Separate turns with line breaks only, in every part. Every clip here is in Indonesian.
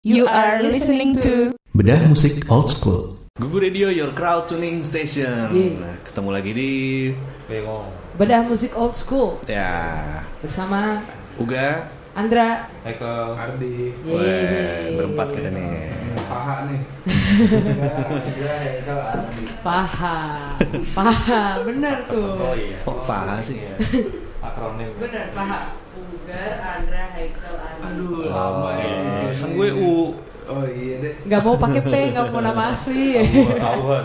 You are listening to
Bedah musik old school.
Gugu Radio Your Crowd Tuning Station.
Iya.
Nah, Ketemu lagi di
Bengong.
Bedah Musik Old School
ya
bersama
Uga.
Andra.
Ekel. Ardi.
Iya,
Weh, berempat kita nih.
Paha nih.
Paha, paha, bener tuh.
iya.
Kok paha sih?
Iya. Akronim.
Bener paha. Ugar, Andra, Haikal, Andi.
Aduh, lama ya.
Sang gue U.
Oh iya deh.
Gak mau pakai P, gak mau nama asli.
Awal.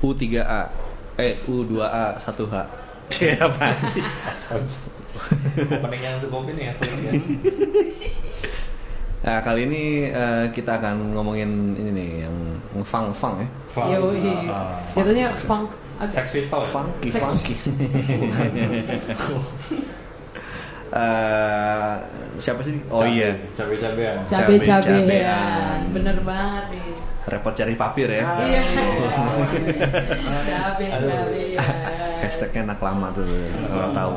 U3A. Eh, U2A, 1H. Cih, apaan sih?
Opening yang sekompin ya. tuh, ya.
Nah, kali ini eh, kita akan ngomongin ini nih, yang fang-fang ya.
Fun.
Yoi.
Ah, ah.
Jatuhnya funk. Ag-
Sex Pistol.
Funky,
Sex-
funky. Eh, siapa sih? Oh iya,
Cabe-cabean.
Cabe-cabean.
Cabe-cabean. Bener banget nih.
repot cari papir ya.
Ah,
Iya. Cabe-cabean.
Hashtagnya anak lama tuh,
Iya,
kalau Oh, tahu.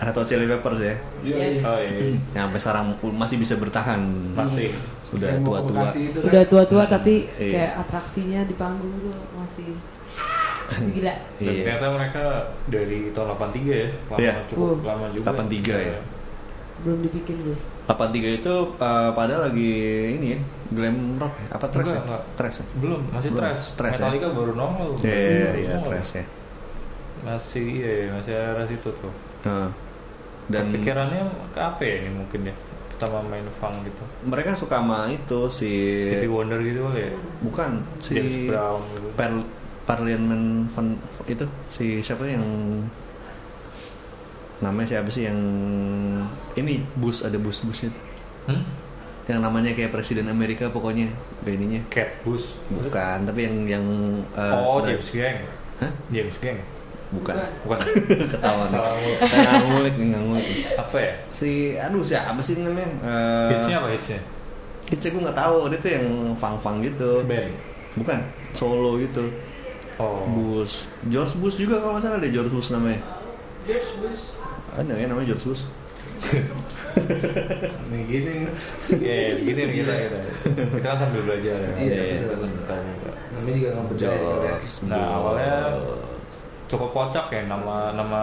Ada tau Chili Peppers ya?
Yes.
Oh iya.
Yang sampai sekarang masih bisa bertahan.
Masih.
Udah
Yang mau
tua-tua.
Bekasi itu kan.
Udah tua-tua tapi
Iya.
kayak atraksinya di panggung tuh masih masih gila.
Dan
Iya.
ternyata mereka dari tahun 83 ya. Lama
Iya.
cukup
Uh.
lama juga.
83 ya.
Belum dibikin gue.
83 itu eh, pada lagi ini ya, glam rock ya? Apa trash ya?
Enggak, enggak.
Trash ya?
Belum, masih
Belum.
trash.
Trash, ya?
Metallica baru nongol.
Iya, iya, iya,
Nongol.
trash ya.
Masih iya, iya, masih arah situ tuh.
Nah, dan
Dan pikirannya ke apa ya ini mungkin ya? Pertama main funk gitu.
mereka suka sama itu si
Stevie Wonder gitu kali ya.
bukan Iya. si
James Brown gitu.
Par- Parliament Van itu si siapa yang namanya siapa sih yang ini bus ada bus bus itu
Hmm?
yang namanya kayak presiden Amerika pokoknya ininya
Cat Bus.
bukan tapi yang yang eh,
oh,
ber-
James Gang.
Hah?
James Gang.
bukan
Bukan.
ketawa nih
Salah mulu.
Saya nggak ngulik nih, nggak ngulik
apa ya?
si aduh siapa sih namanya Eh,
Hitsnya apa hitsnya?
hitsnya gue nggak tahu dia tuh yang fang fang gitu
Band.
bukan solo gitu
Oh.
Bush George Bush juga kalau nggak salah ada George Bush namanya ada ya namanya George Bush
Nih gini. Iya, gini nih kita kita. Kita kan sambil belajar ya.
Iya,
Kita
betul.
sambil tahu juga.
Namanya juga nggak percaya. ya.
Nah, awalnya
Bush.
cukup kocak ya nama nama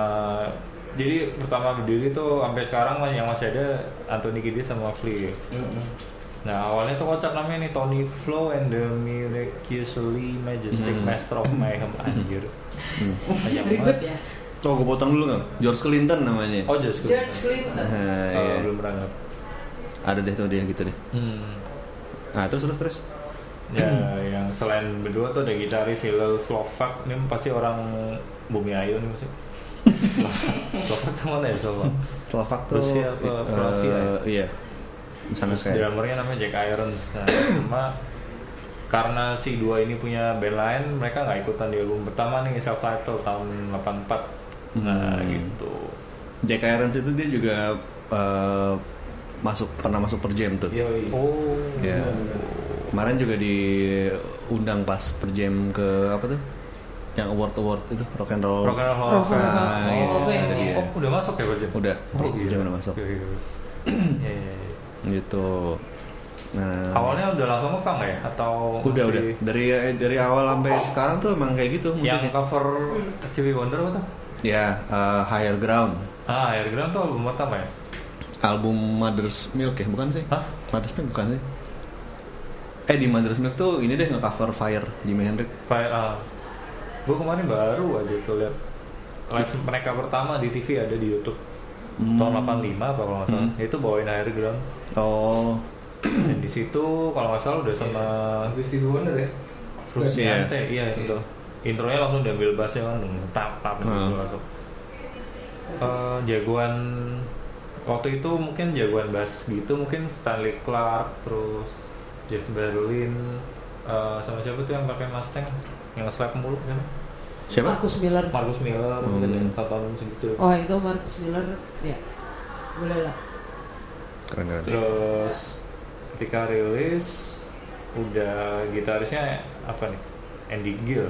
jadi pertama berdiri tuh sampai sekarang lah yang masih ada Anthony Kiedis sama Flea.
Mm-mm.
Nah awalnya tuh kocak namanya nih Tony Flow and the Miraculously Majestic
Hmm.
Master of Mayhem anjir. Panjang
Ribet
banget.
ya.
Oh, gue potong dulu kan? George Clinton namanya.
Oh George
George
Clinton.
Clinton.
Nah,
Oh,
iya.
belum berangkat.
Ada deh tuh dia gitu deh. Nah, terus terus terus.
Ya yang selain berdua tuh ada gitaris Hillel Slovak ini pasti orang Bumi Ayu nih maksudnya. Slovak, Slovak teman ya Slovak.
Slovak tuh.
Rusia apa
eh,
Kroasia ya?
Iya. Di Sana
Terus
kayak.
drummernya namanya Jack Irons. Nah, cuma karena si dua ini punya band lain, mereka nggak ikutan di album pertama nih self title tahun 84. Nah
Hmm.
gitu.
Jack Irons itu dia juga eh, masuk pernah masuk per jam tuh.
Yoi.
Oh.
Iya. Kemarin juga diundang pas per jam ke apa tuh? Yang award award itu Oh. rock and roll.
Rock and Roll
Rock and
Hall of
Roll.
Nah, iya,
Oh,
ada dia.
Oh, udah masuk ya Bajen?
Udah,
oh,
udah
gila.
udah masuk.
Iya, iya, iya. Iya, iya, iya.
Gitu. Nah,
Awalnya udah langsung ngefang ya? Atau
udah
masih-
udah dari eh, dari awal sampai sekarang tuh emang kayak gitu
Yang
musiknya.
cover
Hmm.
Stevie Wonder apa tuh?
Ya, eh, Higher Ground.
Ah, Air Ground tuh album pertama ya?
Album Mother's Milk ya, bukan sih?
Hah?
Mother's Milk bukan sih? Eh di Mother's Milk tuh ini deh nge-cover Fire Jimi Hendrix.
Fire ah. Gue kemarin baru aja tuh lihat live mereka pertama di TV ada di YouTube
Hmm.
tahun 85 apa kalau nggak salah. Itu bawain Air Ground.
Oh,
Dan di situ kalau nggak salah udah sama
Lagu Stevie Wonder ya.
Frusciante,
Iya.
iya
Iya.
itu. Intronya langsung diambil bassnya kan, dong, tap tap gitu
Hmm.
langsung. Eh, jagoan waktu itu mungkin jagoan bass gitu mungkin Stanley Clark terus Jeff Berlin eh, sama siapa tuh yang pakai Mustang yang slap mulu kan?
siapa?
Marcus Miller.
Marcus Miller
Hmm.
mungkin ya, tahun segitu
Oh itu Marcus Miller ya boleh lah.
Keren keren.
Iya, terus ketika rilis udah gitarisnya apa nih Andy Gill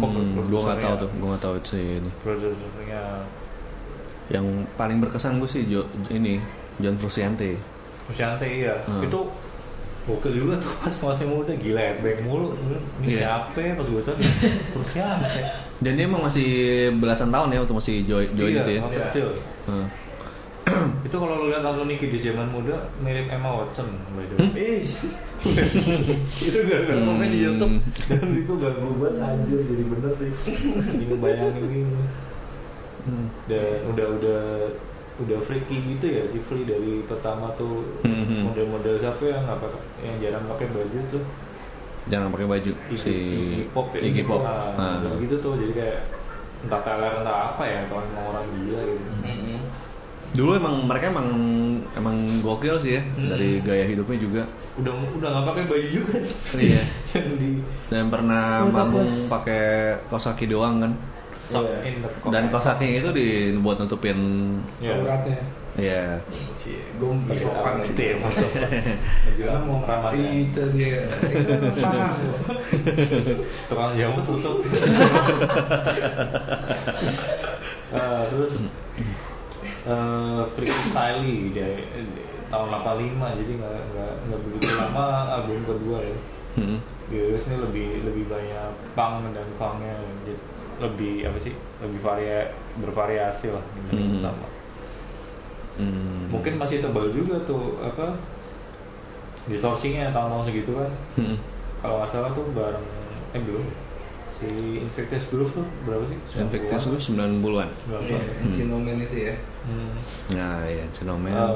Oh,
Hmm,
pro-
gue nggak tahu
produsernya.
tuh, gue nggak tahu itu sih ini.
produsernya
Yang paling berkesan gue sih Jo- ini John Frusciante.
Pushante iya.
Hmm.
Itu Gokil juga tuh pas masih muda gila ya, bang mulu. Ini
Iya.
siapa ya? pas gue tadi Pushante.
Dan dia emang masih belasan tahun ya waktu masih join join
Iya,
itu ya.
waktu
Iya.
kecil.
Hmm.
Itu kalau lu lihat Androniki di zaman muda mirip Emma Watson by the way.
Ih,
itu gak ada
Hmm.
komen di YouTube dan itu gak banget anjir jadi bener sih bingung bayangin ini
Hmm.
dan udah udah udah freaky gitu ya si Free dari pertama tuh
Hmm, hmm.
model-model siapa yang nggak pakai yang jarang pakai baju tuh
Jangan pakai baju si
Iya, Iggy Pop ya
Iggy Pop.
Nah,
Ah.
gitu tuh jadi kayak entah teler entah apa ya kalau emang orang gila gitu
Mm-mm.
Dulu emang mereka emang emang gokil sih ya
Hmm.
dari gaya hidupnya juga.
udah udah nggak pakai baju juga sih
Iya.
yang di
Dan pernah
Full
manggung
topless.
pakai kosaki doang kan.
sock
Iya.
in the
Dan
pocket.
kosaki itu dibuat nutupin
Iya.
Auratnya.
ya
Cie, gua mau
Pakai
sopan
apa?
lagi.
Iya, masuk.
Karena mau
Ramadan.
Itu dia. Itu orang paham.
tukang jamu tutup Eh, terus eh Freaky Styly dia- eh, tahun 85 jadi nggak nggak nggak begitu lama album kedua ya
Hmm.
Virus ini lebih lebih banyak punk dan funknya jadi lebih apa sih lebih varia bervariasi lah di
Hmm.
album pertama
Hmm.
mungkin masih tebal juga tuh apa distorsinya tahun-tahun segitu kan
Hmm.
kalau nggak salah tuh bareng eh belum si Infectious Groove tuh berapa sih?
Infectious itu 90-an.
90-an.
Iya, Cinomen itu ya.
Hmm.
Nah, ya fenomen.
Ah.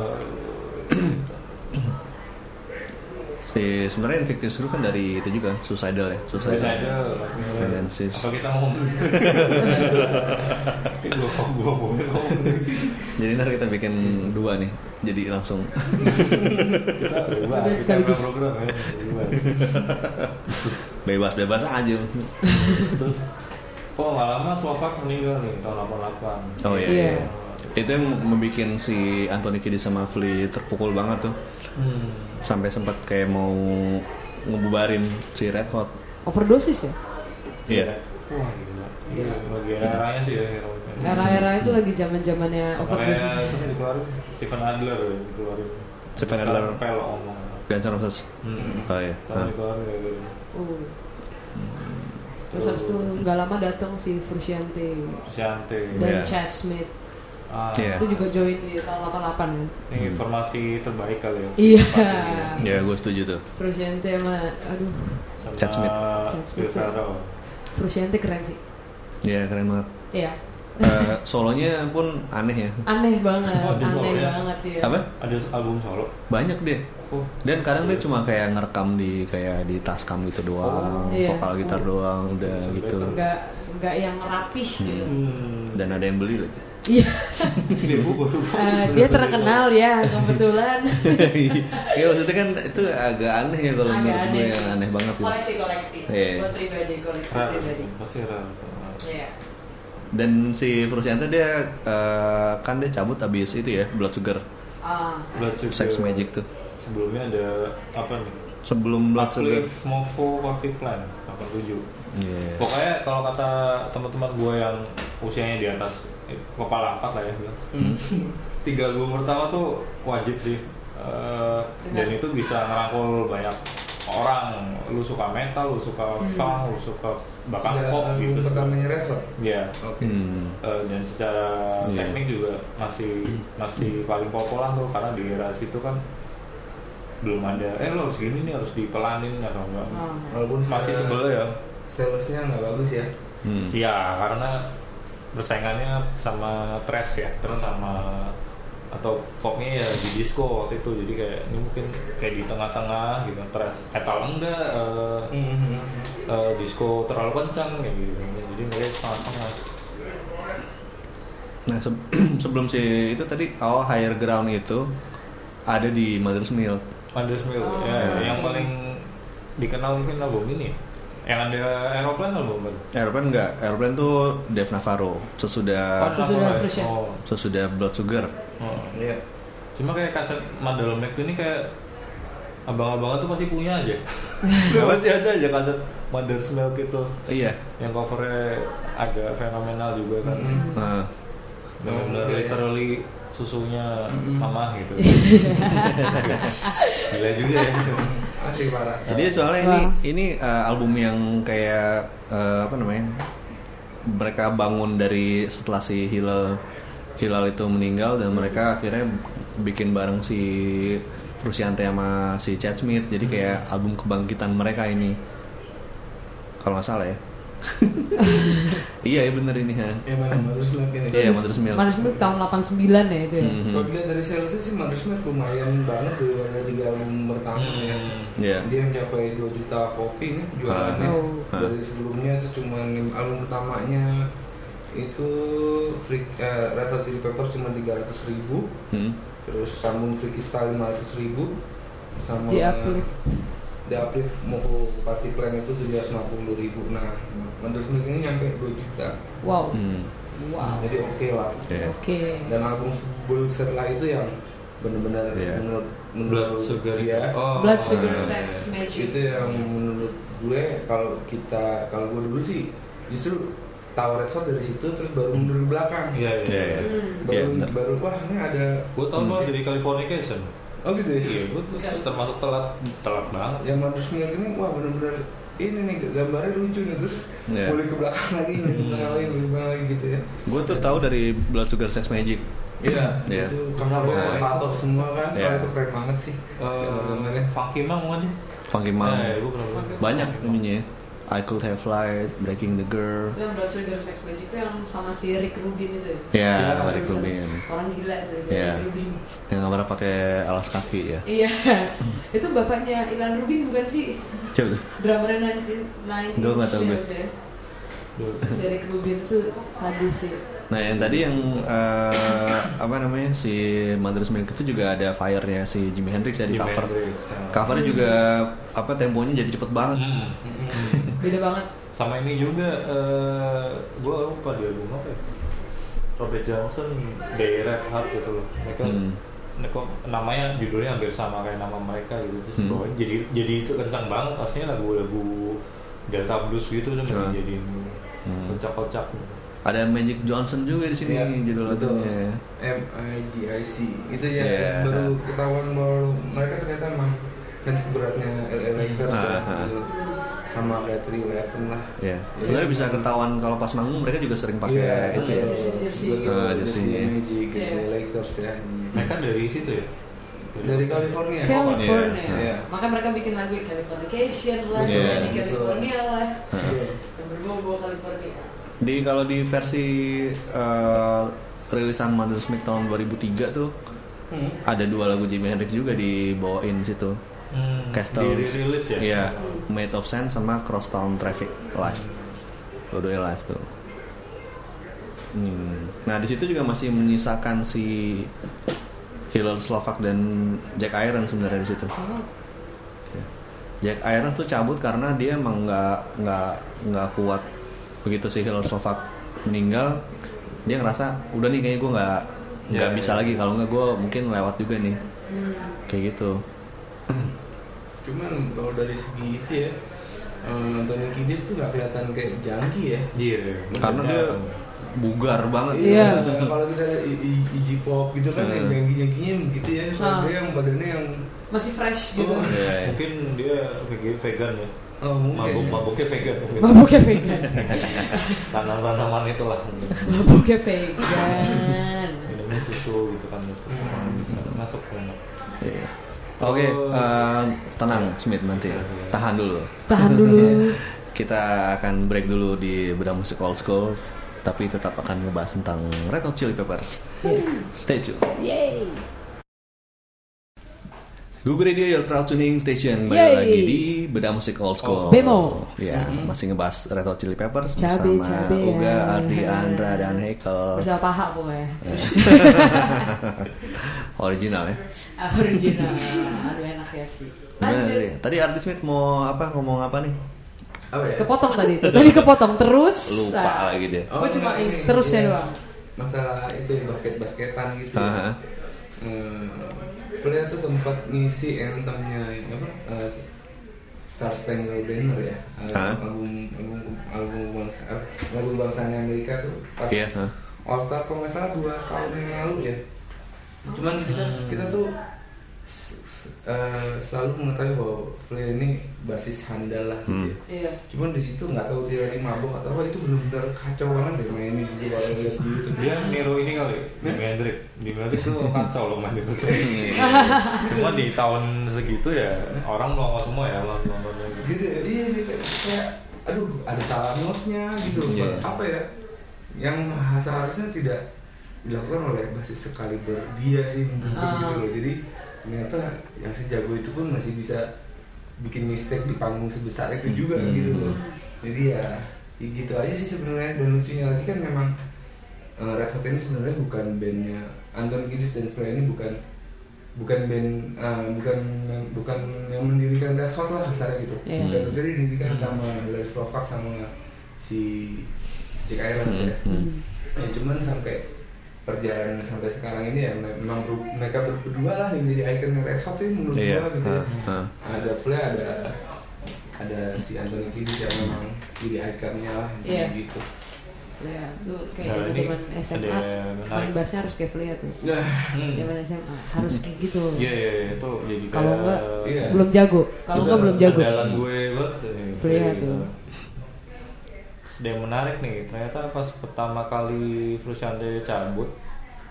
si
Eh,
sebenarnya Infectious Groove kan dari itu juga Suicidal ya,
Suicide
Suicidal.
Girl, Black Mirror.
Tendencies.
Apa kita ngomong? Ini gua kok gua mau ngomong.
Jadi ntar kita bikin dua nih. Jadi langsung
Kita bebas.
Tapi
kita
sekaligus.
program ya. bebas.
bebas-bebas aja.
Terus oh nggak lama Slovak meninggal nih tahun 88.
Oh iya.
Iya.
iya. Itu yang membuat si Anthony Kiedis sama Flea terpukul banget tuh.
Hmm.
Sampai sempat kayak mau ngebubarin si Red Hot.
Overdosis ya?
Iya.
Wah gila.
Iya.
Gila. Bagi eranya sih ya. hero.
Era-era itu lagi zaman zamannya overdosis.
Makanya itu kan dikeluarin Stephen Adler ya, dikeluarin.
Stephen Adler.
Pel omong.
Guns N' Roses.
Hmm.
Oh iya.
Tapi
Nah.
dikeluarin gitu. gara-gara.
Oh. Terus habis itu nggak lama datang si Frusciante
Shante.
dan
Iya.
Chad Smith.
Ah,
Iya. Hmm.
Itu juga join di tahun 88 ya.
Ini informasi terbaik kali ya.
Iya.
Ya gue setuju tuh.
Frusciante sama aduh,
Sama
Chad Smith.
Chad Smith. iya.
Will Ferrell.
Frusciante keren sih.
Ya keren banget.
Iya.
Eh, solonya pun aneh ya.
Aneh banget,
Oh, dia
aneh
bawa ya.
banget iya. dia.
Apa?
Ada album solo.
Banyak deh.
Oh.
Dan kadang dia cuma kayak ngerekam di kayak di tas kamu gitu
Oh,
doang,
iya.
vokal gitar doang, udah gitu.
Nggak nggak yang rapih gitu.
Hmm.
Dan ada yang beli lagi.
Iya.
Ini gua baru-
Eh, dia terkenal ya kebetulan.
ya maksudnya kan itu agak aneh ya kalau
Agak
menurut gue
aneh.
ya, aneh banget gitu.
Koleksi-koleksi.
Iya.
Buat pribadi, koleksi
Rare.
pribadi.
Pasti rare.
Iya.
Dan si Frusciante dia eh, kan dia cabut abis itu ya Blood Sugar,
Ah.
Blood Sugar.
Sex Magic tuh.
Sebelumnya ada apa nih?
Sebelum Blood Sugar.
Uplift Movo Party Plan 87.
Iya.
Pokoknya kalau kata teman-teman gue yang usianya di atas eh, kepala empat lah ya bilang. Tiga album pertama tuh wajib sih. Eh, dan itu bisa ngerangkul banyak orang. Lu suka metal, lu suka funk, lu suka bahkan
Ada
pop
album
gitu.
Pertamanya Red Hot.
Iya.
Oke.
Hmm.
Eh, dan secara
Iya.
teknik juga masih masih paling populer tuh karena di era situ kan belum ada eh lo harus gini nih harus dipelanin atau enggak
ah.
Oh,
Walaupun
masih
se-
tebel ya
salesnya nggak bagus ya.
Hmm.
Iya, karena persaingannya sama trash ya, terus sama atau popnya ya di disco waktu itu jadi kayak ini mungkin kayak di tengah-tengah gitu trash metal enggak eh, eh, disco terlalu kencang kayak gitu jadi mereka tengah-tengah
Nah se- sebelum si itu tadi oh Higher Ground itu ada di Mother's Milk.
Mother's Milk
Oh,
ya,
oke.
yang paling dikenal mungkin album ini ya. yang ada aeroplane album baru
Airplane enggak, Airplane tuh Dave Navarro sesudah
sesudah
Samurai.
Fresh ya?
oh.
sesudah Blood Sugar.
oh.
Iya.
cuma kayak kaset Mandel Mac ini kayak abang-abang tuh pasti punya aja pasti ada aja kaset gitu. Mother's Milk itu
Iya.
yang covernya agak fenomenal juga kan
Mm-mm.
Nah,
benar
Oh, iya.
literally susunya
Mm-mm.
mama gitu gila juga ya
Asli parah.
Iya.
Jadi soalnya ini
Wah.
ini uh, album yang kayak uh, apa namanya? Mereka bangun dari setelah si Hilal Hilal itu meninggal dan mereka akhirnya bikin bareng si Frusciante sama si Chad Smith. Jadi kayak album kebangkitan mereka ini. Kalau nggak salah ya. iya ya bener ini ya.
Ya mana Mother's Milk ini.
Iya Mother's Milk.
Mother's Milk tahun 89 ya itu ya.
Mhm.
Kalau
Hmm.
dilihat dari salesnya sih Mother's Milk lumayan banget tuh ada tiga album pertama ya.
Hmm.
Iya.
Dia mencapai 2 juta kopi nih jualannya.
Oh.
Nah.
Dari sebelumnya itu cuma lim- album pertamanya itu Freak, eh, Red Hot Chili Peppers cuma 300 ribu
Mhm.
terus sambung Freaky Style 500 ribu sama
The Uplift.
The Uplift mau ke Party Plan itu 750 ribu nah menurut Milk ini nyampe 2 juta
Wow.
Mhm.
Wow.
jadi oke lah
Iya.
Oke.
dan album sebelum setelah itu yang benar-benar
Iya.
menurut
blood
menurut
sugar
dia
oh
Blood Sugar
iya.
Sex Magic.
itu yang menurut gue kalau kita kalau gue dulu sih justru tahu Red Hot dari situ terus baru mundur ke belakang
iya iya Mm.
Iya, iya.
Hmm.
Iya,
baru
bener.
baru wah ini ada
gue tau
Hmm.
lo dari Californication
oh gitu ya
iya gue tuh termasuk telat telat banget
yang Mother's Milk ini wah benar-benar ini nih gambarnya lucu nih terus
Iya.
boleh ke belakang lagi boleh ke belakang lagi boleh ke belakang lagi gitu ya
Gue tuh tahu dari Blood Sugar Sex Magic.
Iya,
Iya.
itu karena gue
Nah.
tato semua kan,
Iya.
wah, itu keren banget sih.
Eh, Funky Mang bukan sih?
Funky Mom.
Eh, gua pernah
Funky
banyak ininya ya. I could have lied, breaking the girl.
Itu yang Blood Sugar Sex Magic itu yang sama si Rick Rubin itu ya.
Ya,
Ya,
dari
Terus
Rubin.
Orang gila itu Rick
Iya.
Rubin.
Yang nggak pernah pakai alas kaki ya.
Iya. itu bapaknya Ilan Rubin bukan sih?
Coba.
Drummernya Nine Inch- Nine
Gua nggak tahu,
Nails
guys.
ya. Si Rick Rubin itu sadis sih.
Nah yang tadi yang eh, apa namanya si Mother's Milk itu juga ada fire-nya si Jimi Hendrix ya di
Jimi
cover.
Hendrix, sama-
Covernya juga apa temponya jadi cepet banget.
Hmm.
Beda banget.
Sama ini juga eh gue lupa di album apa ya. Robert Johnson dari Red Hot gitu loh. Mereka
Hmm.
mereka namanya judulnya hampir sama kayak nama mereka gitu terus
Hmm.
bawahnya jadi jadi itu kencang banget aslinya lagu-lagu Delta Blues gitu cuma
Cuma.
dijadiin
Hmm.
kocak-kocak
Ada Magic Johnson juga di sini
Iya,
judul
betul.
lagunya. ya.
M I G I C itu ya
Iya.
baru ketahuan bahwa mereka ternyata emang fans beratnya LA Lakers
Ah,
ya,
ah.
gitu. sama kayak Three Eleven lah.
Ya.
Iya.
Sebenarnya bisa ketahuan kalau pas manggung mereka juga sering pakai
Iya,
itu.
iya.
ya.
jersey-jersey.
betul,
Ah, Hmm.
jersey
jersey-nya.
Magic, jersey
Iya.
Lakers ya.
mereka dari situ ya
Dari California.
California.
Iya.
Makanya mereka bikin lagu ya, Californication lah,
Iya.
di California lah.
Ah.
Iya.
Yang berbau-bau California.
Di kalau di versi eh, rilisan Mother's Milk tahun 2003 tuh
Hmm.
ada dua lagu Jimi Hendrix juga dibawain situ.
hmm,
Castles.
dirilis ya
Iya, Made of Sand sama Crosstown Traffic live. Dua-duanya live tuh. Hmm. Nah, di situ juga masih menyisakan si Hillel Slovak dan Jack Iron sebenarnya di situ.
Oh,
Jack Iron tuh cabut karena dia emang nggak nggak nggak kuat begitu si Hillel Slovak meninggal dia ngerasa udah nih kayaknya gue nggak nggak
Ya,
bisa
ya.
lagi kalau nggak gue mungkin lewat juga nih kayak gitu
Cuman kalau dari segi itu ya, eh, Anthony Kiedis tuh nggak kelihatan kayak junkie ya.
Iya.
karena dia bugar banget
Iya.
Dan kalau kita lihat i- i- IG pop gitu kan yang
Hmm.
jangki-jangkinya begitu ya,
Ah.
kalau dia yang badannya yang
Masih fresh gitu.
Oh,
Iya, iya.
mungkin dia veg- vegan ya.
oh, mungkin ya.
Mabuk-mabuknya vegan. mungkin.
Mabuknya vegan.
Tanaman-tanaman itulah mungkin.
Mabuknya ya, vegan.
Minumnya susu gitu kan gitu. Orang bisa masuk banget.
Iya. oke eh, tenang Smith nanti ya. tahan dulu
Tahan dulu.
kita akan break dulu di bedah musik old school tapi tetap akan ngebahas tentang Red Hot Chili Peppers
Yes.
stay tune
Yay.
Google Radio Your Crowd Tuning Station balik
Yeay.
lagi di Beda Musik Old
Oh,
School.
Bemo. Mm-hmm.
Ya, masih ngebahas Red Hot Chili Peppers
Cabe,
bersama
cabe,
Uga,
ya.
Ardi, Andra dan Hekel.
Udah paha pokoknya.
Original ya.
Ah, Original. Aduh enak ya sih.
Gimana tadi?
Lanjut.
Tadi Ardi Smith mau apa ngomong apa nih?
apa ya?
Kepotong tadi itu. Tadi kepotong terus.
Lupa
Ah.
lagi dia.
Gua cuma
Oh, enggak,
ini, terusnya
iya.
doang.
Masalah itu basket-basketan gitu.
Aha.
Hmm, Pernah tuh sempat ngisi anthemnya apa? eh, Star Spangled Banner ya.
Hah?
Album album album bangsa apa, lagu bangsanya Amerika tuh pas
Iya, hah.
All Star kalau nggak salah dua tahun yang lalu ya. cuman kita kita tuh s- s- eh, selalu mengetahui bahwa Flea ini basis handal lah
Hmm.
gitu
Iya.
ya. cuman di situ nggak tahu teori mabok atau apa itu benar-benar kacau banget deh mainnya di situ kalau lihat dulu tuh
dia niru ini kali Jimi Hendrix Jimi Hendrix tuh kacau loh main itu cuma di tahun segitu ya orang melongo semua ya melongo
gitu ya dia sih kayak- kayak aduh ada salah notnya gitu
Iya.
apa ya yang seharusnya tidak dilakukan oleh basis sekaliber dia sih mungkin
Ah.
gitu loh jadi ternyata yang sejago itu pun masih bisa bikin mistake di panggung sebesar itu juga gitu loh jadi ya, ya gitu aja sih sebenarnya dan lucunya lagi kan memang eh, Red Hot ini sebenarnya bukan bandnya Anton Kiedis dan Flea ini bukan bukan band eh, bukan bukan yang mendirikan Red Hot lah kasarnya gitu
Iya.
Red Hot ini didirikan sama Larry Slovak sama si Jack Irons ya
Hmm.
ya cuman sampai perjalanan sampai sekarang ini ya me- memang ber- mereka ber- berdua lah yang jadi ikon Red Hot ini menurut
Iya.
gua gitu ya.
Heeh.
ada Flea ada ada si Anthony Kiedis yang memang jadi ikonnya lah
Iya.
gitu
Iya, lu
Nah,
kayak
ini
zaman SMA.
ada
Main
menarik.
bassnya harus kayak Flea tuh.
nah
Hmm.
Zaman SMA harus kayak gitu.
Iya iya iya, itu jadi kayak
Kalau enggak
Iya.
belum jago. Kalau enggak belum jago.
Andalan gue banget. eh,
Flea
kayak
tuh.
Terus Ada yang menarik nih, ternyata pas pertama kali Frusciante cabut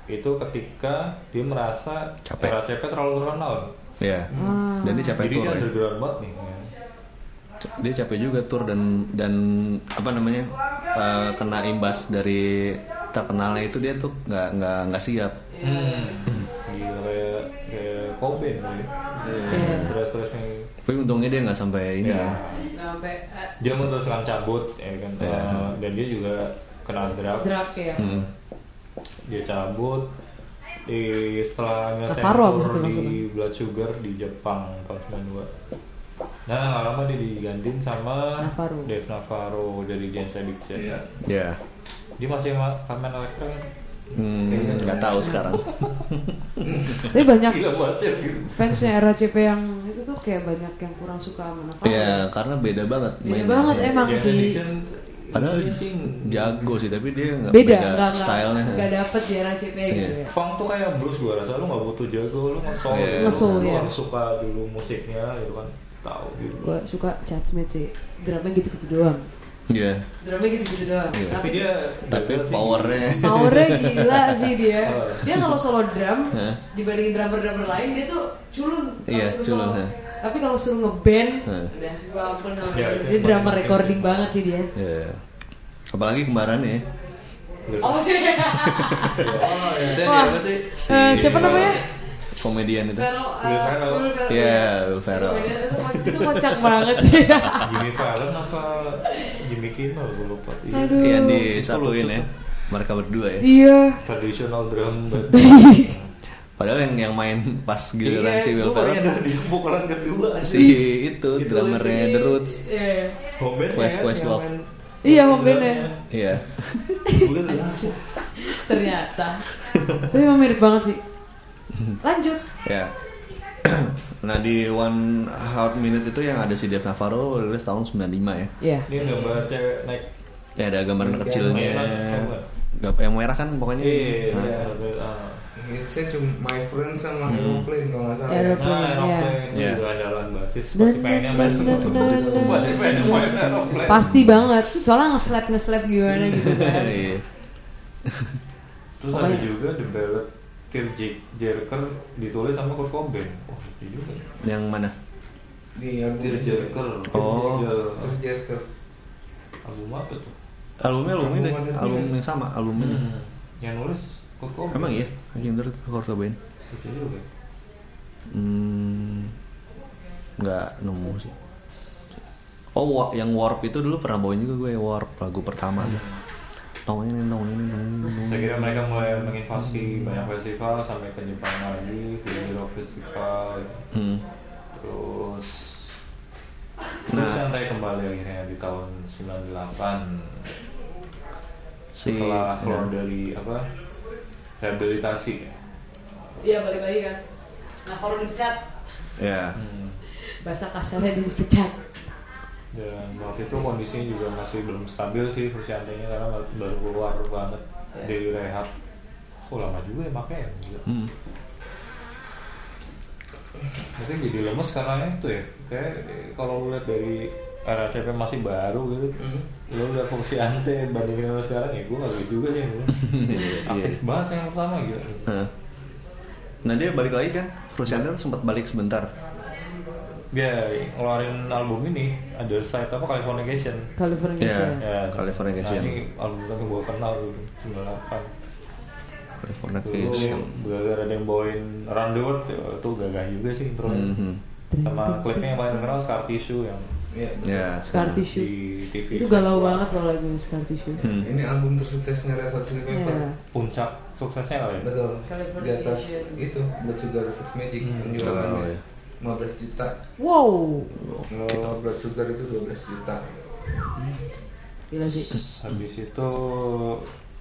itu ketika dia merasa
Capek.
RACP terlalu terkenal.
Iya.
Ah.
Dan dia capek
Jadi
tour.
dia
ya.
underground banget nih. ya.
Dia capek juga tour dan dan apa namanya? eh, kena imbas dari terkenalnya itu dia tuh nggak nggak nggak siap.
Iya.
Hmm. Gila kayak kayak Cobain kali.
Iya.
Stres-stres yang
Tapi untungnya dia nggak sampai ini.
ya.
Nggak sampai eh,
Dia memutuskan cabut ya kan.
Iya.
Eh, Dan dia juga kena drug.
drug ya.
Hmm.
dia cabut di setelah nyelesain
Paru abis itu
tour
langsung.
di Blood Sugar di Jepang tahun 92 nah nggak lama dia digantiin sama
Navarro.
Dave Navarro dari James Addiction
iya
Ya.
dia masih sama Carmen Electra kan?
Nah.
Hmm, nggak tahu sekarang.
Tapi banyak
gila banget sih gitu
fansnya RCP yang itu tuh kayak banyak yang kurang suka sama Navarro.
Iya, karena beda banget.
Beda
mainnya.
banget
Iya.
emang
James
sih.
Addiction,
Padahal
dia sih
jago sih, tapi dia nggak
Beda,
beda,
nggak
stylenya.
nggak nggak dapet di RCP gitu
Iya.
ya.
Funk tuh kayak blues gua rasa lu nggak butuh jago lu ngesol
Iya.
gitu.
Ngesol,
lu
iya.
harus suka dulu musiknya gitu kan tahu gitu
Gue suka Chad Smith sih. Drumnya gitu-gitu doang.
Iya.
Drumnya gitu-gitu doang.
Iya.
tapi dia
Tapi
jago sih.
powernya.
Powernya gila sih dia.
Oh.
Dia kalau solo drum
Hah?
dibandingin drummer-drummer lain dia tuh culun. Kalau
Iya,
suruh
culun,
solo.
ya.
Tapi kalau suruh ngeband,
Hah.
udah gua ampun nggak
Ya,
ngerti.
itu
Dia
yang
drummer
paling
recording
penting.
banget sih dia.
Iya. Apalagi kembarannya ya.
Oh sih.
oh ya
Dan
Wah.
dia apa sih?
Eh, siapa namanya?
Komedian itu.
Vero. eh,
Will Ferrell.
Will Ferrell.
Gitu. Iya, Will Ferrell.
Itu itu kocak banget sih.
Jimmy Fallon apa Jimmy Kimmel gue lupa Iya.
Aduh.
Yang disatuin ya. Mereka berdua ya.
Iya.
traditional drum band
Padahal yang yang main pas giliran
Iya,
si Will
gua baru
Ferrell
nyadar dia pukulan kedua
si itu
Itu
drummernya The Roots.
Iya.
home band
Quest-
kan,
Quest
yang
Love.
main-
Iya, home band-nya.
Iya.
Bukan lah.
Ternyata. Tapi emang mirip banget sih. Lanjut.
Ya. nah di One Hot Minute itu yang ada si Dave Navarro rilis tahun 95 ya.
Iya.
Ini gambar cewek naik
Ya ada gambaran
Yang
kecilnya.
mainan.
Gap- Yang merah kan pokoknya.
Iya,
Nah,
Iya.
ah.
hitsnya cuma My Friends sama
Hmm.
Aeroplane kalau nggak salah ya.
Aeroplane.
Nah, Aeroplane itu
Iya.
juga andalan basis
Dan-
Pasti pengennya
dan-
main
dan- dan- dan-
Pasti pengennya
dan-
main Aeroplane
Pasti banget. Soalnya ngeslap ngeslap gimana gitu kan.
Iya.
Terus ada
Pokoknya.
juga The Ballad Kirk Jake Jerker ditulis sama Kurt Cobain Wah, itu juga ya.
Yang mana?
di album
Kirk Jerker
Oh.
Jerker.
Iya, Jerker
album apa tuh?
Albumnya album ini,
Album ada
album
juga.
yang sama, album ini.
Hmm. Yang nulis Kurt Cobain.
Emang iya, Akhirnya terus Kurt Cobain.
Itu juga.
Hmm, nggak nemu sih. Oh, wa- yang Warp itu dulu pernah bawain juga gue Warp lagu pertama tuh. Tong ini, tong ini, tong ini, tong
Saya
ini.
kira mereka mulai menginvasi
Hmm.
banyak festival sampai ke Jepang lagi, ke Euro Festival,
Hmm.
terus
Nah.
terus santai kembali akhirnya di tahun 98
Si,
setelah
ya.
keluar dari apa rehabilitasi.
Iya balik lagi kan. Navarro dipecat.
ya.
Hmm.
Bahasa kasarnya dipecat.
Dan waktu itu kondisinya juga masih belum stabil sih Frusciante-nya karena baru keluar banget dari rehab. Oh lama juga ya makanya. ya.
Hmm.
mungkin jadi lemes karena itu ya kayak eh, kalau lu lihat dari RACP masih baru gitu
Hmm.
lu udah fungsi ante bandingin sama sekarang ya gue kagak juga sih gua.
Iya.
aktif banget yang pertama gitu
Nah. Nah, dia balik lagi kan? Rusianto sempat balik sebentar.
dia ngeluarin album ini ada site apa Californication
Iya.
California.
ya
Californication.
nah, ini album pertama yang gue kenal dulu 98 Oh.
Californication.
Dulu gara-gara ada yang bawain Around the World ya, itu gagah juga sih intro
Mhm.
sama klipnya yang paling kenal Scar Tissue yang
Iya, betul.
Ya,
Scar
sama.
Tissue.
di TV
Itu galau banget kalau lagu Scar Tissue.
Hmm.
Ini album tersuksesnya Red Hot Chili Peppers.
Iya.
puncak suksesnya kali ya
Betul. Di
California
atas
Edition.
itu buat Sugar Sex Magic
Hmm.
penjualannya
Oh, iya.
15 juta.
Wow,
Kalau Blood Sugar itu 12 juta.
gila sih.
habis itu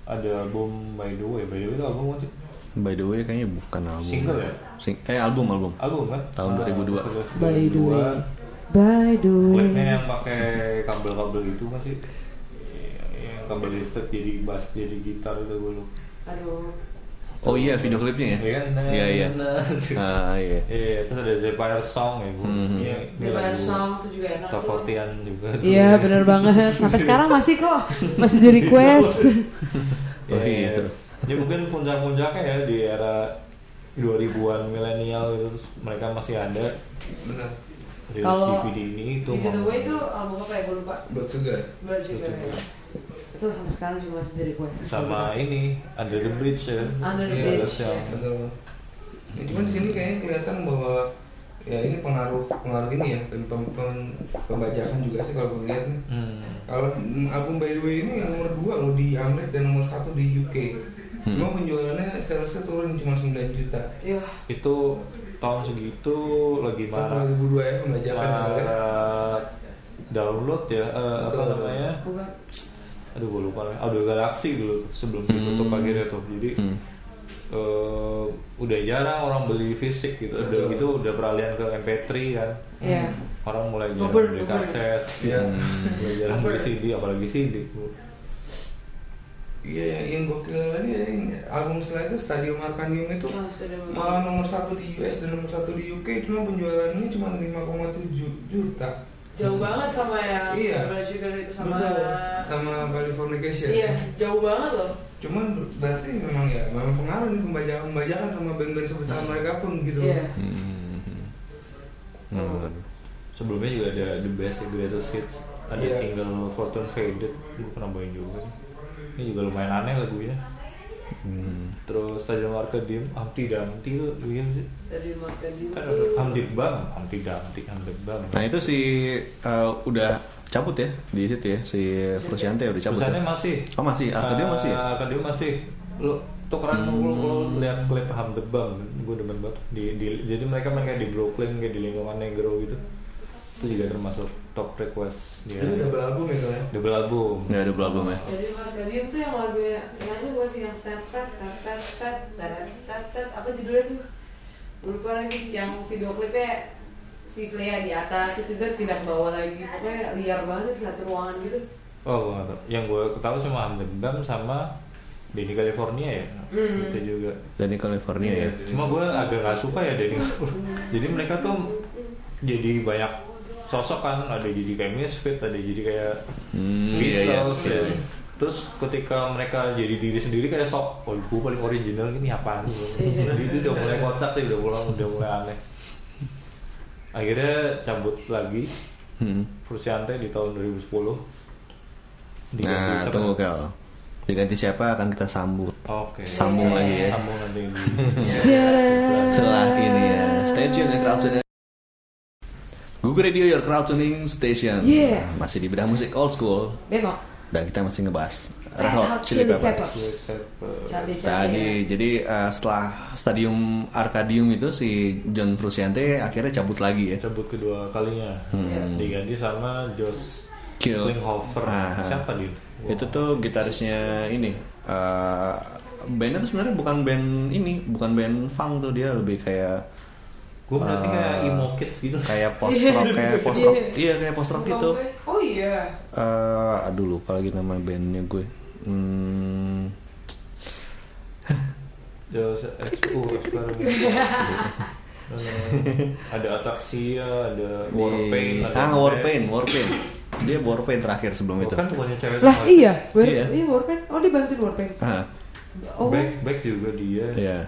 ada album By The Way By The Way itu album apa sih?
By the way kayaknya bukan album.
Single ya?
Sing- eh album album.
album kan
Tahun 2002.
By the way, by the way.
klipnya yang pakai kabel-kabel itu kan sih Yang- yang kabel listrik jadi bass jadi gitar itu gue lupa
Aduh,
Oh iya video klipnya ya.
Iya kan?
Iya iya.
Nah,
Ah iya.
Iya, terus ada Zephyr Song ya, Bu.
Mhm.
Iya,
di Fire Song itu juga enak.
Top
tuh.
40-an juga. tuh.
Iya bener banget Sampai sekarang masih kok Masih di request
Iya,
Oh, iya,
iya.
terus.
Ya mungkin puncak-puncaknya ya di era 2000-an milenial gitu terus mereka masih ada
Benar.
rilis
Kalau
DVD ini itu.
Give It
mau-
Away itu album apa ya gue lupa
Blood Sugar.
Berat juga ya Itu sampai sekarang juga masih di request
sama ini Under the Bridge ya.
Under the
Iya,
Bridge,
terus yang-
ya.
Betul. Ya, cuman di sini kayaknya kelihatan bahwa ya ini pengaruh pengaruh ini ya pem, pem, pem- pembajakan juga sih kalau gue lihat nih.
Hmm.
Kalau mm, album By The Way ini yang nomor 2 loh di Amerika dan nomor 1 di UK. Cuma penjualannya salesnya turun cuma 9 juta.
Iya
Itu tahun segitu lagi
Tahun
marah
2002 ya pembajakan Amerika.
marah download ya eh, apa
Betul.
namanya
Bukan
aduh gue lupa lagi. Audio Galaxy dulu tuh, sebelum ditutup
Hmm.
akhirnya tuh jadi
Hmm.
eh, udah jarang orang beli fisik gitu udah
Betul.
gitu udah peralihan ke MP3 kan
Iya
orang mulai jarang
Ngobrol,
beli
ngobrol.
kaset
Iya.
mulai jarang beli
Ngobrol.
CD apalagi CD Bu.
Iya, yang- yang gokil lagi ya, yang album setelah itu Stadium Arcanium itu
Oh, Stadium Arcanium.
malah nomor satu di US dan nomor satu di UK cuma penjualannya cuma 5,7 juta.
Jauh banget sama yang
Iya.
Berat juga itu sama
Betul. Sama Californication.
Iya jauh banget loh
Cuman berarti memang ya memang pengaruh nih pembajakan-pembajakan sama band-band sebesar mereka pun gitu.
Iya
Hmm.
Oh.
Hmm.
sebelumnya juga ada The Best The Greatest Hits ada
Iya.
single Fortune Faded gue pernah bawain juga sih. ini juga lumayan aneh lagunya
Hmm.
terus Stadium Arcadium Amti Damti tuh iya sih
Jadi makan
kan
itu
ada Hamdi Bam Amti Damti Hamdi Bam
Nah itu si eh, udah cabut ya di situ ya si Frusciante udah cabut. Ya?
Susannya masih.
Oh, masih. Arkadio masih ya? Hmm.
Eh, Arkadio masih. Lu tukeran lu, lu, lu lihat klip Hamdebam, gue demen banget. Di, di- jadi mereka main kayak di Brooklyn, kayak di lingkungan negro gitu. Itu juga termasuk top request dia.
Itu double album itu ya.
Double album.
Nggak ada belum ya.
Jadi Margarium tuh yang lagu ya, yang nyanyi gue sih yang tet tet tet tet tet tet tet tet apa judulnya tuh Gua lupa lagi yang video klipnya si Clea di atas itu kan pindah ke bawah lagi pokoknya liar banget satu ruangan gitu
Oh, gua nggak tahu. Yang gue ketahui cuma Hamdebam sama Denny California ya.
Hmm.
Itu juga.
Dan di California ya.
Cuma gue agak nggak suka ya Denny. jadi mereka tuh jadi banyak sosok kan ada jadi kayak misfit ada jadi kayak
Hmm,
Gitu,
iya iya.
terus,
Iya,
ya.
iya.
Terus ketika mereka jadi diri sendiri kayak sok, oh gue paling original ini apaan sih? jadi itu udah mulai kocak sih, udah pulang, udah mulai aneh. Akhirnya cabut lagi,
Hmm.
Frusciante di tahun 2010. Diganti
Nah
siapa?
tunggu Gal. Diganti siapa akan kita sambut
Oke.
Sambung lagi ya.
Sambung nanti. ini.
setelah
Eh.
ini ya. Stay tune ya Crowd Tuning. Google Radio Your Crowd Tuning Station.
Yeah.
Masih di bedah musik old school
Bemo
dan kita masih ngebahas
Red
Red Hot
Hot
Chili
Eh, Chili
Peppers.
Peppers. Iya. cabe cabe
Tadi jadi eh, setelah Stadium Arcadium itu si John Frusciante akhirnya cabut lagi ya.
Cabut kedua kalinya. Diganti sama Josh
Kill.
Klinghoffer.
Hmm. Ah.
Siapa dia?
Itu tuh gitarisnya ini. eh bandnya tuh sebenarnya bukan band ini, bukan band funk tuh dia lebih kayak
Gue berarti
Ah.
kayak emo kids gitu.
kayak post rock, kayak post rock. Iya, kayak post rock gitu.
oh iya
Eh, aduh lupa lagi nama bandnya gue. Hmm,
Josh XU Experiment. Eh, ada ataxia, ada warpaint,
Di-
ada
ah
Undead.
warpaint warpaint dia warpaint terakhir sebelum
Oh,
itu
Kan bukannya cewek
Lah
sama-
iya, war,
Iya.
iya. Warpaint. Oh dia bantuin Warpaint.
ah
Oh,
Back back juga dia.
ya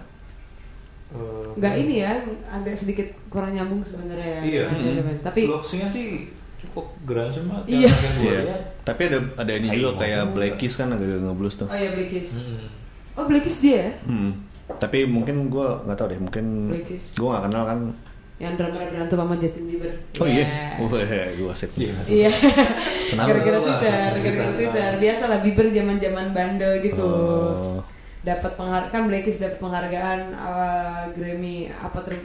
Eh,
nggak ini ya, agak sedikit kurang nyambung sebenarnya.
Iya.
Ada
Mm-mm.
Warpaint. ya, Tapi
looks-nya sih cukup grand cuma
Iya.
karena yang gue
Iya.
lihat,
tapi ada ada ini
Ayo,
juga kayak
ngomong.
Black Keys kan agak ngeblues tuh
oh iya Blackish.
mm-mm.
Oh Blackish dia ya?
Hmm. Tapi mungkin gue nggak tahu deh, mungkin
Black Keys.
gue nggak kenal kan.
Yang drama berantem sama Justin Bieber.
Oh iya,
Ya.
wah gue sip.
Iya.
Iya.
Kenapa?
Gara-gara Twitter, gara-gara
Kenapa?
Twitter. Biasalah Bieber zaman-zaman bandel gitu.
Oh.
Dapat penghargaan, Blackish dapat penghargaan uh, Grammy apa ter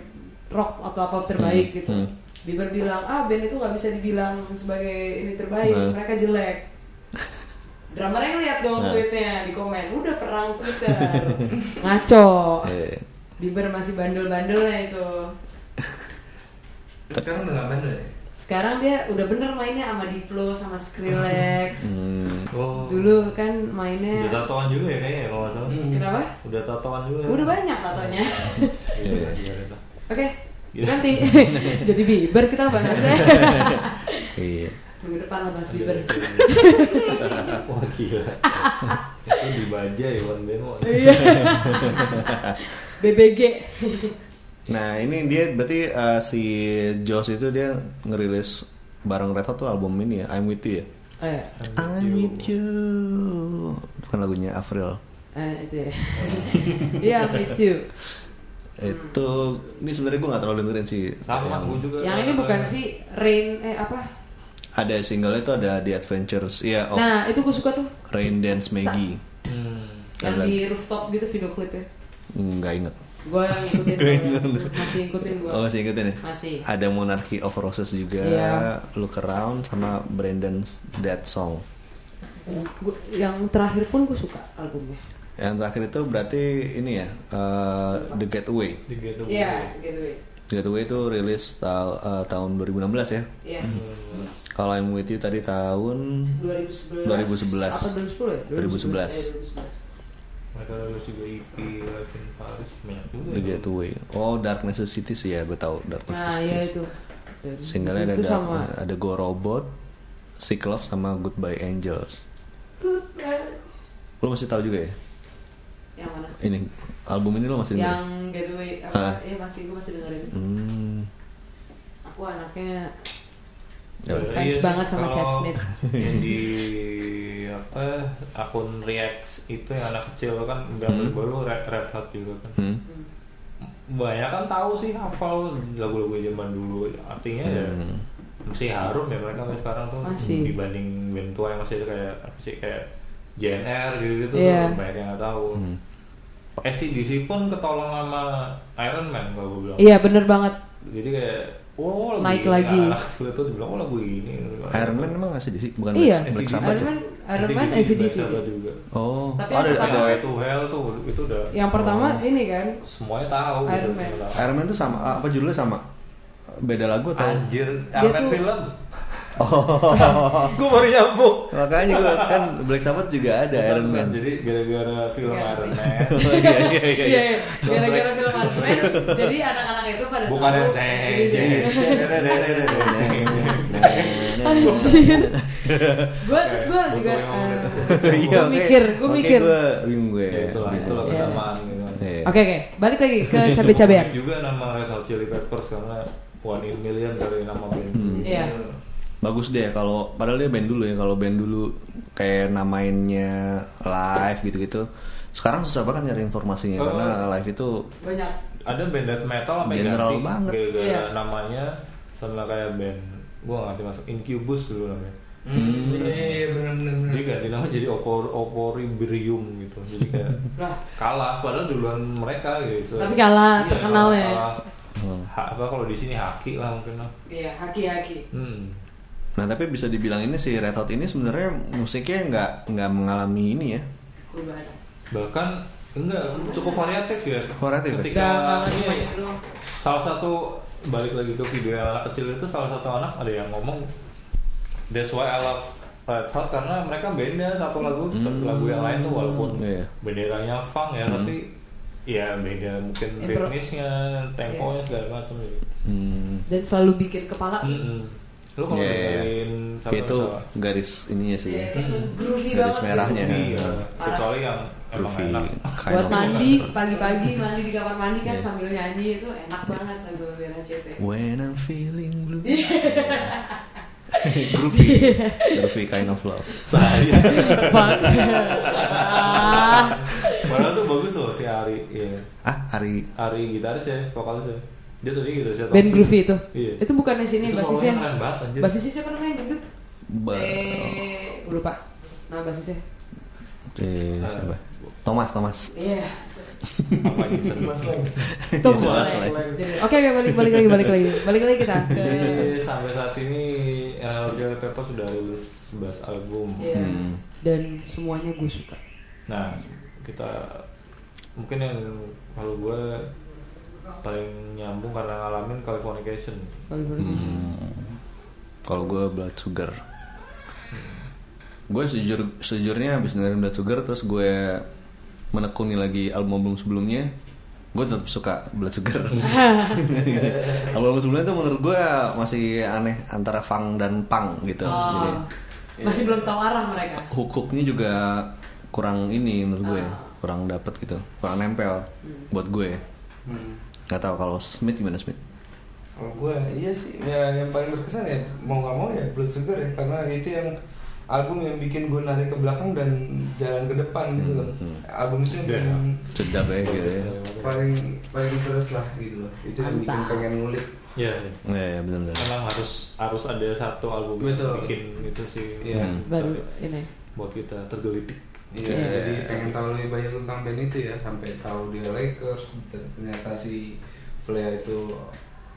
rock atau apa terbaik
Hmm,
gitu.
hmm.
Bieber bilang, "Ah, band itu nggak bisa dibilang sebagai ini terbaik,
Nah.
mereka jelek." Drummernya ngeliat dong
Nah.
tweetnya di komen, udah perang Twitter, ngaco.
Eh,
Bieber masih bandel-bandelnya itu.
Terus sekarang udah nggak bandel ya?
Iya. Sekarang dia udah bener mainnya sama Diplo, sama Skrillex.
hmm.
Oh.
Dulu kan
Udah
mainnya
tatoan juga ya kayaknya kalau nggak salah.
Kenapa?
Udah tatoan juga.
Udah banyak tatonya.
Iya, iya, iya.
Oke,
Gitu.
nanti jadi Bieber kita bahasnya.
Iya.
Minggu depan lah bahas Bieber.
Wah gila. Itu dibaca ya One Band One.
Iya. BBG.
Nah ini dia berarti eh, si Josh itu dia ngerilis bareng Red Hot tuh album ini ya, I'm With You ya.
Oh, iya.
I'm With You. Bukan kan lagunya Avril.
Eh, itu ya. Iya, I'm with you.
Itu ini sebenarnya gue nggak terlalu dengerin sih. Ya,
Sama
Yang-
aku juga.
Yang ini bukan si Rain eh apa?
Ada single itu ada The Adventures, iya, of
Nah, itu gue suka tuh.
Rain Dance Maggie.
Hmm.
Yang
Ada
di rooftop gitu video klipnya.
Nggak inget.
Gue yang ngikutin
Gua
gua. masih ngikutin gue.
Oh masih ikutin ya?
Masih.
Ada Monarchy of Roses juga,
Iya.
Look Around sama Brandon's Dead Song.
Gua- yang terakhir pun gue suka albumnya.
Yang terakhir itu berarti ini ya, eh, The Getaway.
Di Gateway.
Iya, gitu ya.
Getaway itu rilis ta- eh, tahun 2016 ya.
Yes.
Hmm.
Kalau I'm With You tadi tahun
2011.
2011.
Apa 2010 ya?
2011.
Eh, 2011.
Mereka harus juga EP Live in Paris banyak juga.
The Getaway. Oh Dark Necessity sih ya, gue tahu Dark
Nah, iya
Necessity.
itu.
Singlenya ada
Itu
Dark- eh,
sama
ada Go Robot, Sick Love sama Goodbye Angels. Lo masih tahu juga ya?
yang mana?
Ini album ini lo masih dengerin?
Yang Getaway
Hah?
apa? Iya, masih gue masih dengerin.
Hmm.
Aku anaknya
Ya,
Eh,
fans
iya sih,
banget sama
kalau
Chad Smith.
Yang di apa akun React itu yang anak kecil kan gambar
Hmm.
baru Red, Red Hot juga kan.
Hmm.
Hmm.
Banyak kan tahu sih hafal lagu-lagu zaman dulu. Artinya ya
Hmm.
masih harum ya mereka sampai sekarang tuh
Masih.
dibanding band tua yang masih kayak apa sih kayak JNR gitu-gitu
Iya.
tuh banyak yang nggak tahu. Eh,
Hmm.
SCDC pun ketolong sama Iron Man kalau gue bilang.
Iya, bener banget.
Jadi kayak oh lagu
Naik
ini.
lagi.
Anak kecil tuh dibilang oh lagu ini. Eh,
Iron Man emang nggak sih DC? bukan
Iya.
Black, Black
SCDC.
Sabbath
Iron
ya?
Man, Iron Man, eh,
Black
ACDC.
Sabbath juga.
Oh,
Tapi
oh, ada,
yang
ada,
Ada itu Hell tuh itu udah
Yang pertama
Oh.
ini kan,
semuanya tahu.
Iron
gitu,
Man.
semua tahu.
Iron Man tuh sama apa judulnya sama? Beda lagu atau?
Anjir,
Dia
Iron Man
tuh-
film.
Oh,
Gue baru nyambung.
makanya gua kan Black Sabbath juga ada Iron Man.
Jadi gara-gara film
Iya.
Iron Man.
Oh, iya, iya, iya, iya.
iya, gara-gara film Iron Iya, Man, jadi anak-anak itu pada
Bukan yang
tahu
ceng,
ACDC.
ceng, ceng, ceng, ceng, ceng,
Iya,
ceng.
Anjir. Gue
Oke,
terus gue
untung
juga
yang ngomong itu.
Gue
Iya, oke.
mikir, gue
Oke,
mikir.
gua bingung gue.
Ya itulah, itulah kesamaan gitu.
Iya.
Oke oke, balik lagi ke cabe-cabean.
Juga nama Red Hot Chili Peppers karena One in Million dari nama band.
Hmm.
Iya.
Bagus deh kalau padahal dia band dulu ya kalau band dulu kayak namainnya live gitu-gitu. Sekarang susah banget nyari informasinya
Oh.
karena live itu
Banyak.
Ada band death metal sampai
General
ganti
banget.
gara-gara
Iya.
namanya sama kayak band gua nggak ngerti masuk Incubus dulu namanya.
Hmm, iya, iya, bener bener
Hmm.
bener.
Dia ganti nama jadi Opor Oporibrium gitu. Jadi kayak
Lah,
kalah padahal duluan mereka gitu.
Tapi kalah, terkenal
kalah-
ya.
kalah.
Hmm.
Ha- apa kalau di sini haki lah mungkin lah.
iya haki-haki.
Hmm.
Nah tapi bisa dibilang ini si Red Hot ini sebenarnya musiknya nggak nggak mengalami ini ya.
Perubahan.
Bahkan enggak cukup variatif ya.
Variatif ya?
Ketika
Udah nggak ngerti
iya.
banyak dulu.
salah satu balik lagi ke video yang anak kecil itu salah satu anak ada yang ngomong that's why I love Red Hot karena mereka beda satu lagu satu lagu yang lain tuh walaupun
Iya.
benderanya funk ya tapi ya beda mungkin
Impro- Iya.
ritmisnya, temponya segala macam gitu.
Hmm.
dan selalu bikin kepala
Mm-mm. Lu
Iya,
kalau
iya, iya.
dengerin sama
Kayak itu
sama-
garis ininya sih.
ya, kayak
Hmm.
groovy
Garis
banget
merahnya.
gitu.
Iya,
Parah.
kecuali yang emang
Groovy
enak.
kind
buat
of.
mandi pagi-pagi mandi di kamar mandi kan
Iya.
sambil nyanyi itu enak banget lagu Bella CP
When I'm feeling blue.
Iya.
Groovy. Groovy kind of love. Saya.
Bang.
Padahal tuh bagus loh si Ari, iya.
ah, Ari.
Ari gitaris ya, vokalis ya. Dia tadi gitu sih.
Band Groovy itu
Iya.
itu bukannya sini
Itu
basisnya
solonya keren banget, anjir.
basisnya siapa namanya gendut
kan. Ba-
eh gue lupa nama basisnya
Eh, siapa? Thomas, Thomas.
iya
Apa gitu?
Mas Leng.
Tom
Iya,
Selleck.
Selleck.
Jadi, Oke, oke, balik balik lagi balik lagi balik lagi kita ke
Jadi sampai saat ini uh, Jelly Pepper sudah rilis 11 album.
Iya.
Hmm.
dan semuanya gue suka
Nah, kita mungkin yang kalau gue paling nyambung karena ngalamin Californication.
kalau
Hmm. Kalau gue blood sugar. Gue sejujur sejujurnya habis dengerin blood sugar terus gue menekuni lagi album album sebelumnya. Gue tetap suka blood sugar. album album sebelumnya tuh menurut gue masih aneh antara funk dan punk gitu. Jadi
Oh.
Iya.
masih belum tahu arah mereka
hook-hooknya juga kurang ini menurut gue,
Ah.
kurang dapet gitu, kurang nempel buat gue.
Hmm.
Gak tau kalau Smith gimana Smith?
Kalau gue iya sih ya, yang paling berkesan ya mau nggak mau ya Blood Sugar ya karena itu yang album yang bikin gue narik ke belakang dan jalan ke depan gitu loh.
Hmm.
Album itu yang
Dan-
paling-
Sedap ya gitu ya.
Iya.
paling paling terus lah gitu loh. Itu yang bikin
Mantap.
pengen ngulik.
Iya, iya.
Iya, iya, benar-benar.
Emang harus harus ada satu album
Betul.
yang bikin gitu sih.
Iya.
Tapi
baru ini
buat kita tergelitik.
Iya,
Iya.
jadi pengen tahu lebih banyak tentang band itu ya sampai tahu dia Lakers dan ternyata si Flea itu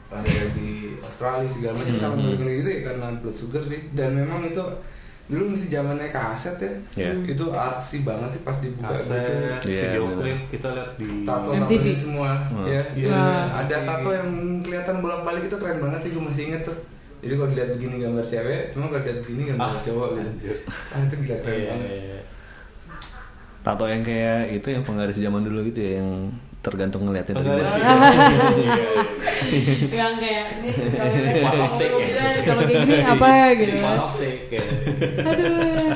lahir di Australia segala macam sama
Mhm.
hmm. gitu ya karena Blood Sugar sih dan memang itu dulu masih zamannya kaset ya
Iya.
itu artsy banget sih pas dibuka gitu
Kaset,
Iya,
video
bener.
klip kita lihat di
tato
MTV.
tato semua
Hmm.
ya
Iya.
Nah, ada tato yang kelihatan bolak balik itu keren banget sih gue masih inget tuh jadi kalau dilihat begini gambar cewek cuma kalau dilihat begini gambar
Ah,
cowok gitu
anjir.
ah itu gila keren
Iya,
banget
iya, iya.
Tato yang kayak itu yang penggaris zaman dulu gitu ya yang tergantung ngeliatin dari
Penggaris
mana.
video klip. Iya, iya,
yang kayak ini kalau
One
kayak- gitu,
of take, ya.
kalau kayak gini apa ya
iya.
gitu
Di
kan.
One of Take, ya.
aduh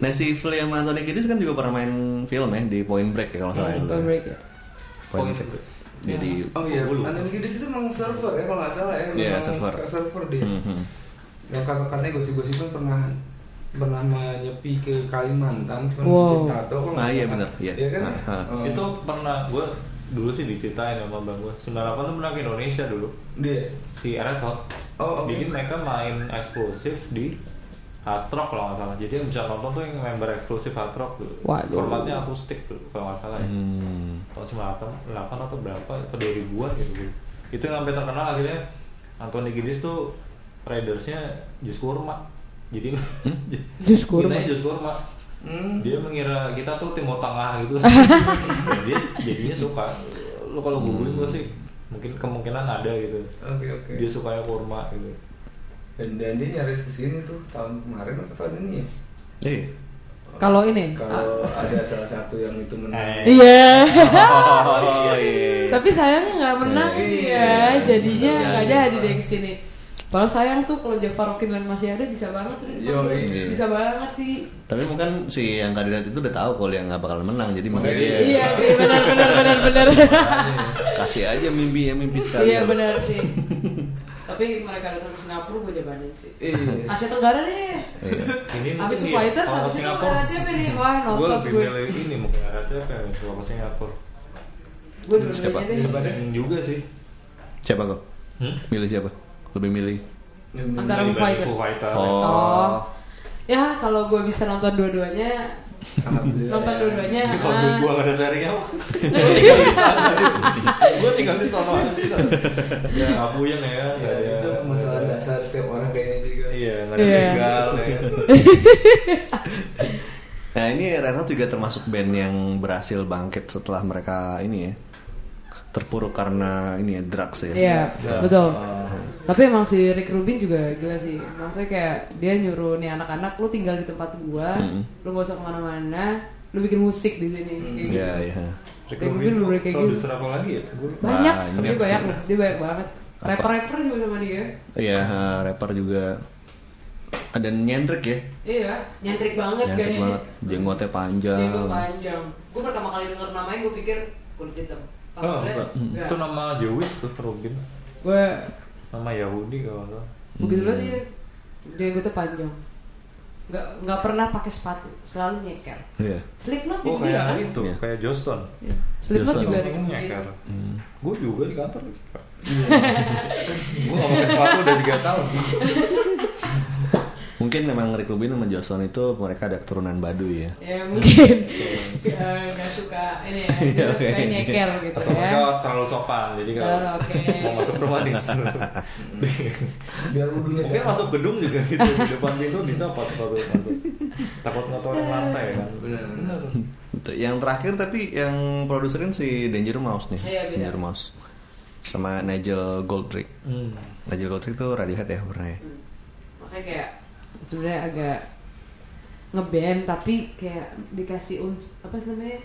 Nah si Flea sama Anthony Kiedis kan juga pernah main film ya di Point Break ya kalau nggak salah. ya dulu ya.
Point break ya
Point
Point
Break.
Break.
Jadi
Oh iya,
Bulu.
Anthony Kiedis itu memang server ya kalau nggak salah ya.
Iya,
Memang
server.
suka server dia.
Mhm.
Yang kata-katanya gosip-gosip kan pernah pernah menyepi ke Kalimantan cuma
Wow.
bikin tato kalau nggak
Ah, iya,
salah.
benar. Iya.
Iya kan?
Ah, ah.
Oh.
Itu pernah gue dulu sih diceritain sama bang gue. 98 tuh pernah ke Indonesia dulu.
dia.
si Red Hot.
Oh, oke.
Jadi mereka main eksklusif di Hard Rock kalau nggak salah. Jadi yang bisa nonton tuh yang member eksklusif Hard Rock dulu.
Waduh.
Formatnya akustik dulu kalau nggak salah ya.
Hmm.
Tahun 98, 98 atau berapa, atau 2000-an gitu. Itu yang sampai terkenal akhirnya Anthony Giddis tuh Raidersnya jus kurma. Jadi
jus kurma
mintanya jus kurma.
Hmm.
Dia mengira kita tuh timur tengah gitu. Nah, dia jadinya suka. Lu kalau googling gue sih mungkin kemungkinan ada gitu.
Oke oke.
Dia sukanya kurma gitu.
Dan, dan dia nyaris kesini tuh tahun kemarin atau tahun ini ya?
Iya.
kalau ini Ah.
Kalau ada salah satu yang itu menang.
Eh.
iya
Oh, iya.
tapi sayangnya nggak menang sih ya jadinya
Iya,
nggak
iya.
jadi deh kesini Padahal sayang tuh kalau Jafar Rockland masih ada bisa banget tuh di depan.
Yoi.
Iya.
bisa banget sih
Tapi mungkin si yang kandidat itu udah tahu kalau yang nggak bakal menang, jadi makanya dia
Iya sih benar benar benar benar.
kasih aja mimpi ya mimpi sekali.
Iya benar sih. Tapi mereka datang ke Singapura gue jabanin sih.
Iya.
Asia Tenggara deh.
Iya.
Ini
Habis
mungkin
fighter
kalau
habis itu ke RCP nih. Wah,
Gue
nonton Ah,
lebih
gue. Iya.
milih ini mungkin RCP nih ya, kalau ke Singapura.
Gue dulu-dulunya deh.
Siapa?
Dan juga sih.
Siapa kok?
Hmm?
Milih siapa? Lebih milih.
Yang menang.
Antara
Dibanding
Fighter.
Foo Fighter.
Oh. Ya kalau gue bisa nonton dua-duanya,
Iya.
Alhamdulillah.
nonton dua-duanya.
Tapi kalau duit
ah.
gue gak ada serinya, tinggal di sana. Gue tinggal di sana. Ya, aku yang ya,
Iya,
Ya,
nggak ada.
itu masalah dasar setiap orang kayaknya sih kan.
Iya, nggak ada
Iya.
legal ya.
Nah ini Red Hot juga termasuk band yang berhasil bangkit setelah mereka ini ya terpuruk karena ini ya drugs ya.
Iya betul.
Ah.
Tapi emang si Rick Rubin juga gila sih. Maksudnya kayak dia nyuruh nih anak-anak lu tinggal di tempat gua,
Mm.
lu gak usah kemana-mana, lu bikin musik di sini. Kayak gitu.
Iya iya.
Rick
Kayak
Rubin
Rubin
tuh
udah kayak gitu.
produser apa lagi ya? Gue lupa.
Banyak,
Banyak
dia
sih.
banyak loh, dia banyak banget.
Apa?
Rapper-rapper juga sama dia.
Iya, ha, rapper juga ada nyentrik ya.
Iya, nyentrik banget
Nyentrik
kayaknya.
banget, Iya. jenggotnya panjang.
Jenggot ya. panjang. Gue pertama kali denger namanya gue pikir kulit hitam. Pas Iya.
Oh,
ngeliat,
enggak.
enggak.
Itu nama Jewish tuh Rubin.
gue
Nama Yahudi kalau nggak salah.
begitu
Hmm.
liat dia dia gue tuh panjang. Nggak nggak pernah pakai sepatu, selalu nyeker.
Iya.
Slipknot
Oh
juga
kayak Oh,
kan?
itu,
Iya.
kayak Johnston.
Slipknot
Biasa.
juga ada
Ngomongnya
gitu.
kayak
Hmm.
Gue juga di kantor. Gue nggak pakai sepatu udah 3 tahun.
Mungkin memang Rick Rubin sama Johnson itu mereka ada keturunan Baduy ya.
Ya mungkin Eh, nggak suka ini ya,
Iya,
nggak suka
oke.
nyeker gitu
Atau
ya.
mereka terlalu sopan, jadi kalau
Oh, oke.
mau masuk rumah nih.
biar udunya
Mungkin masuk gedung juga gitu di depan pintu dicopot sepatu masuk. Takut ngotorin lantai kan.
Bener.
Bener.
Itu. Yang terakhir tapi yang produserin si Danger Mouse nih.
Iya, beda.
Danger Mouse. Sama Nigel Goldrick.
Hmm.
Nigel Goldrick tuh Radiohead ya pernah ya.
Hmm. Makanya kayak sebenarnya agak ngeband tapi kayak dikasih un apa sih namanya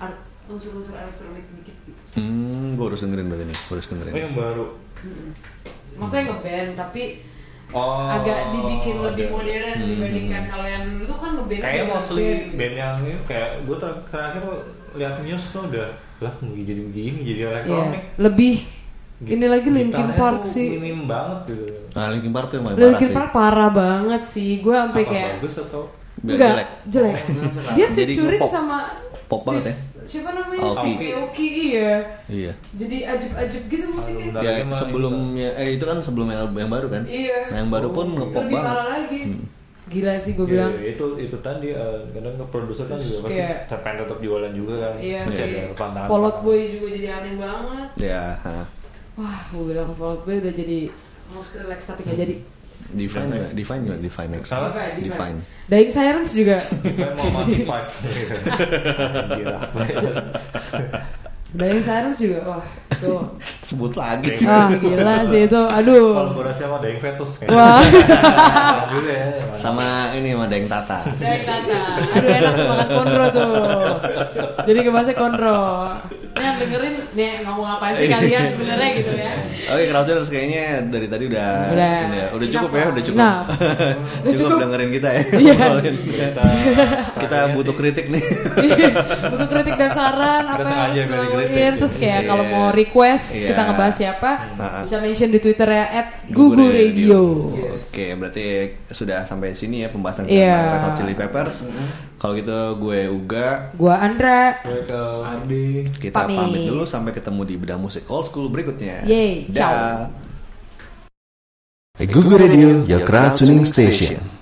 Ar- unsur-unsur elektronik dikit gitu.
Hmm, gue harus dengerin berarti nih, gua harus dengerin.
Oh yang baru.
Mm-mm. Maksudnya ngeband tapi
Oh.
agak dibikin lebih
ada.
modern
Hmm.
dibandingkan kalau yang dulu tuh kan ngeband
Kayaknya
ngeband,
mostly
ngeband.
band yang ini kayak gue terakhir lihat news tuh udah lah mau jadi begini jadi
Iya,
elektronik.
lebih
Git-
ini lagi Linkin
gitarnya
Park
tuh
sih.
minim banget gitu
Nah, Linkin Park tuh yang paling parah
Linkin
sih.
Park parah banget sih. Gue sampai
apa
kayak
bagus atau
Nggak,
Enggak,
jelek.
jelek.
Oh,
Dia
Jadi
featuring
pop.
sama
Pop banget ya.
Siapa namanya?
Aoki.
Steve Aoki iya.
Iya.
Jadi ajib-ajib gitu musiknya.
bentar
Ya
lagi mah gitu.
sebelumnya eh itu kan sebelum yang, yang baru kan?
Iya.
Nah, yang baru pun
Oh,
ngepop
Lebih
banget.
parah lagi.
Hmm.
Gila sih gue
Iya,
bilang.
iya, itu itu tadi eh, kadang ke produser kan juga pasti
kayak-
tetap pengen tetap jualan juga kan
Iya
Pasti
sih.
ada pantangan
Fall Out Boy juga jadi aneh banget.
Ya, ha.
Wah, gue bilang Fall Out Boy udah jadi most relax tapi gak jadi.
Define, nggak? define nggak? Define next.
Salah.
Define,
Define.
Dying Sirens juga.
Kayak mau mati five Gila,
Dying Sirens juga. Wah, tuh.
Sebut lagi.
Ah, gila sih itu. Aduh.
kolaborasi sama Daeng Fetus kan
Wah.
Dulu ya
Sama ini sama Deng Tata.
Dari Tata. Aduh enak tuh makan kondro tuh. Jadi kebahasnya kondro. Ini yang dengerin nih ngomong apa sih kalian sebenarnya gitu ya.
Oke, Crowders kayaknya dari tadi udah
Udah.
udah, udah cukup ya,
Enough.
udah cukup.
Nah. Udah
cukup,
cukup.
dengerin kita ya.
Iya.
Ngobrolin.
Kita
kita butuh kritik nih.
Butuh kritik dan saran apa yang harus
sengaja beli
dilakuin
kritik.
Terus kayak
Iya.
kalau mau request
Iya.
kita ngebahas ya. siapa
Ha-ha.
Bisa mention di Twitter ya At Gugu Radio
Yes.
Oke, berarti sudah sampai sini ya pembahasan kita
Iya.
tentang Red Hot Chili Peppers. Kalau gitu gue Uga
Gua Andra
Gue ke
Ardi
kita
Pamit.
pamit. dulu sampai ketemu di bedah musik old school berikutnya.
Yeay, ciao.
Dah.
Google Radio, your crowd tuning station.